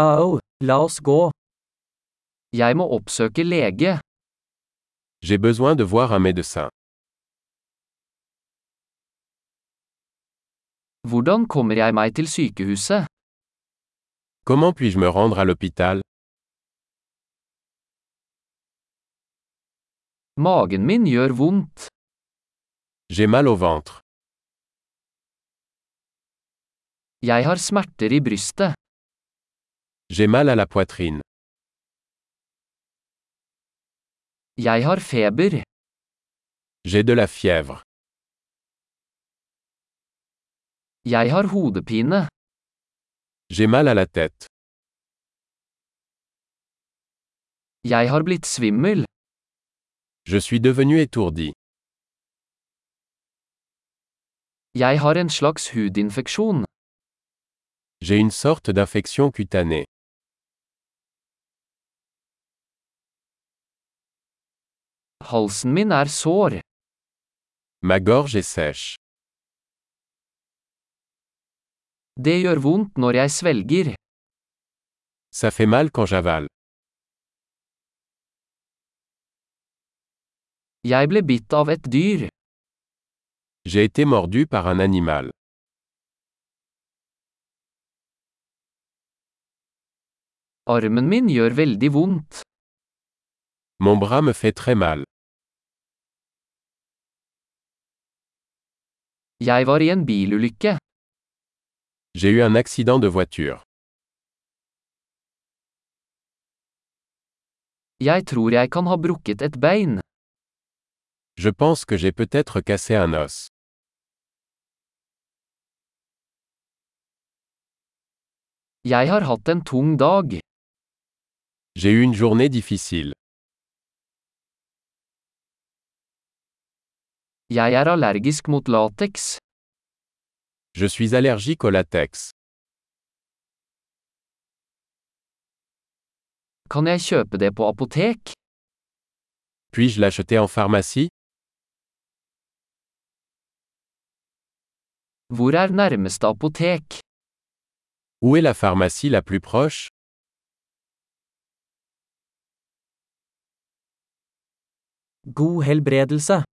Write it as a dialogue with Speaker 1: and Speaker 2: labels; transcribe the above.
Speaker 1: Au, la oss gå. Jeg må oppsøke lege.
Speaker 2: J'ai besoin de voir un médecin.
Speaker 1: Hvordan kommer jeg meg til sykehuset?
Speaker 2: Comment puis-je me rendre à l'hôpital
Speaker 1: Magen min gjør vondt.
Speaker 2: J'ai mal au ventre.
Speaker 1: Jeg har smerter i brystet.
Speaker 2: J'ai mal à la poitrine.
Speaker 1: Jeg har feber.
Speaker 2: J'ai de la fièvre.
Speaker 1: Jeg har hodepine.
Speaker 2: J'ai mal à la tête.
Speaker 1: Jeg har blitt svimmel.
Speaker 2: Je suis devenu étourdi.
Speaker 1: Jeg har en slags hudinfeksjon.
Speaker 2: J'ai une sorte d'infection cutanée.
Speaker 1: Halsen min er sår.
Speaker 2: Ma gorge est sèche.
Speaker 1: Det gjør vondt når jeg svelger.
Speaker 2: Ça fait mal quand j'avale.
Speaker 1: Jeg ble bitt av et dyr.
Speaker 2: J'ai été mordu par un animal.
Speaker 1: Armen min gjør veldig vondt.
Speaker 2: Mon bras me fait très mal.
Speaker 1: Jeg var i en bilulykke.
Speaker 2: J'ai eu un accident de voiture.
Speaker 1: Jeg tror jeg kan ha brukket et bein.
Speaker 2: Je pense que j'ai peut-être cassé un os.
Speaker 1: Jeg har hatt en tung dag.
Speaker 2: J'ai eu une journée difficile.
Speaker 1: Jeg er allergisk mot lateks.
Speaker 2: Je suis allergique au latex.
Speaker 1: Kan jeg kjøpe det på apotek?
Speaker 2: Puis-je l'acheter en pharmacie
Speaker 1: Hvor er nærmeste apotek?
Speaker 2: Où est la pharmacie la plus proche
Speaker 1: God helbredelse.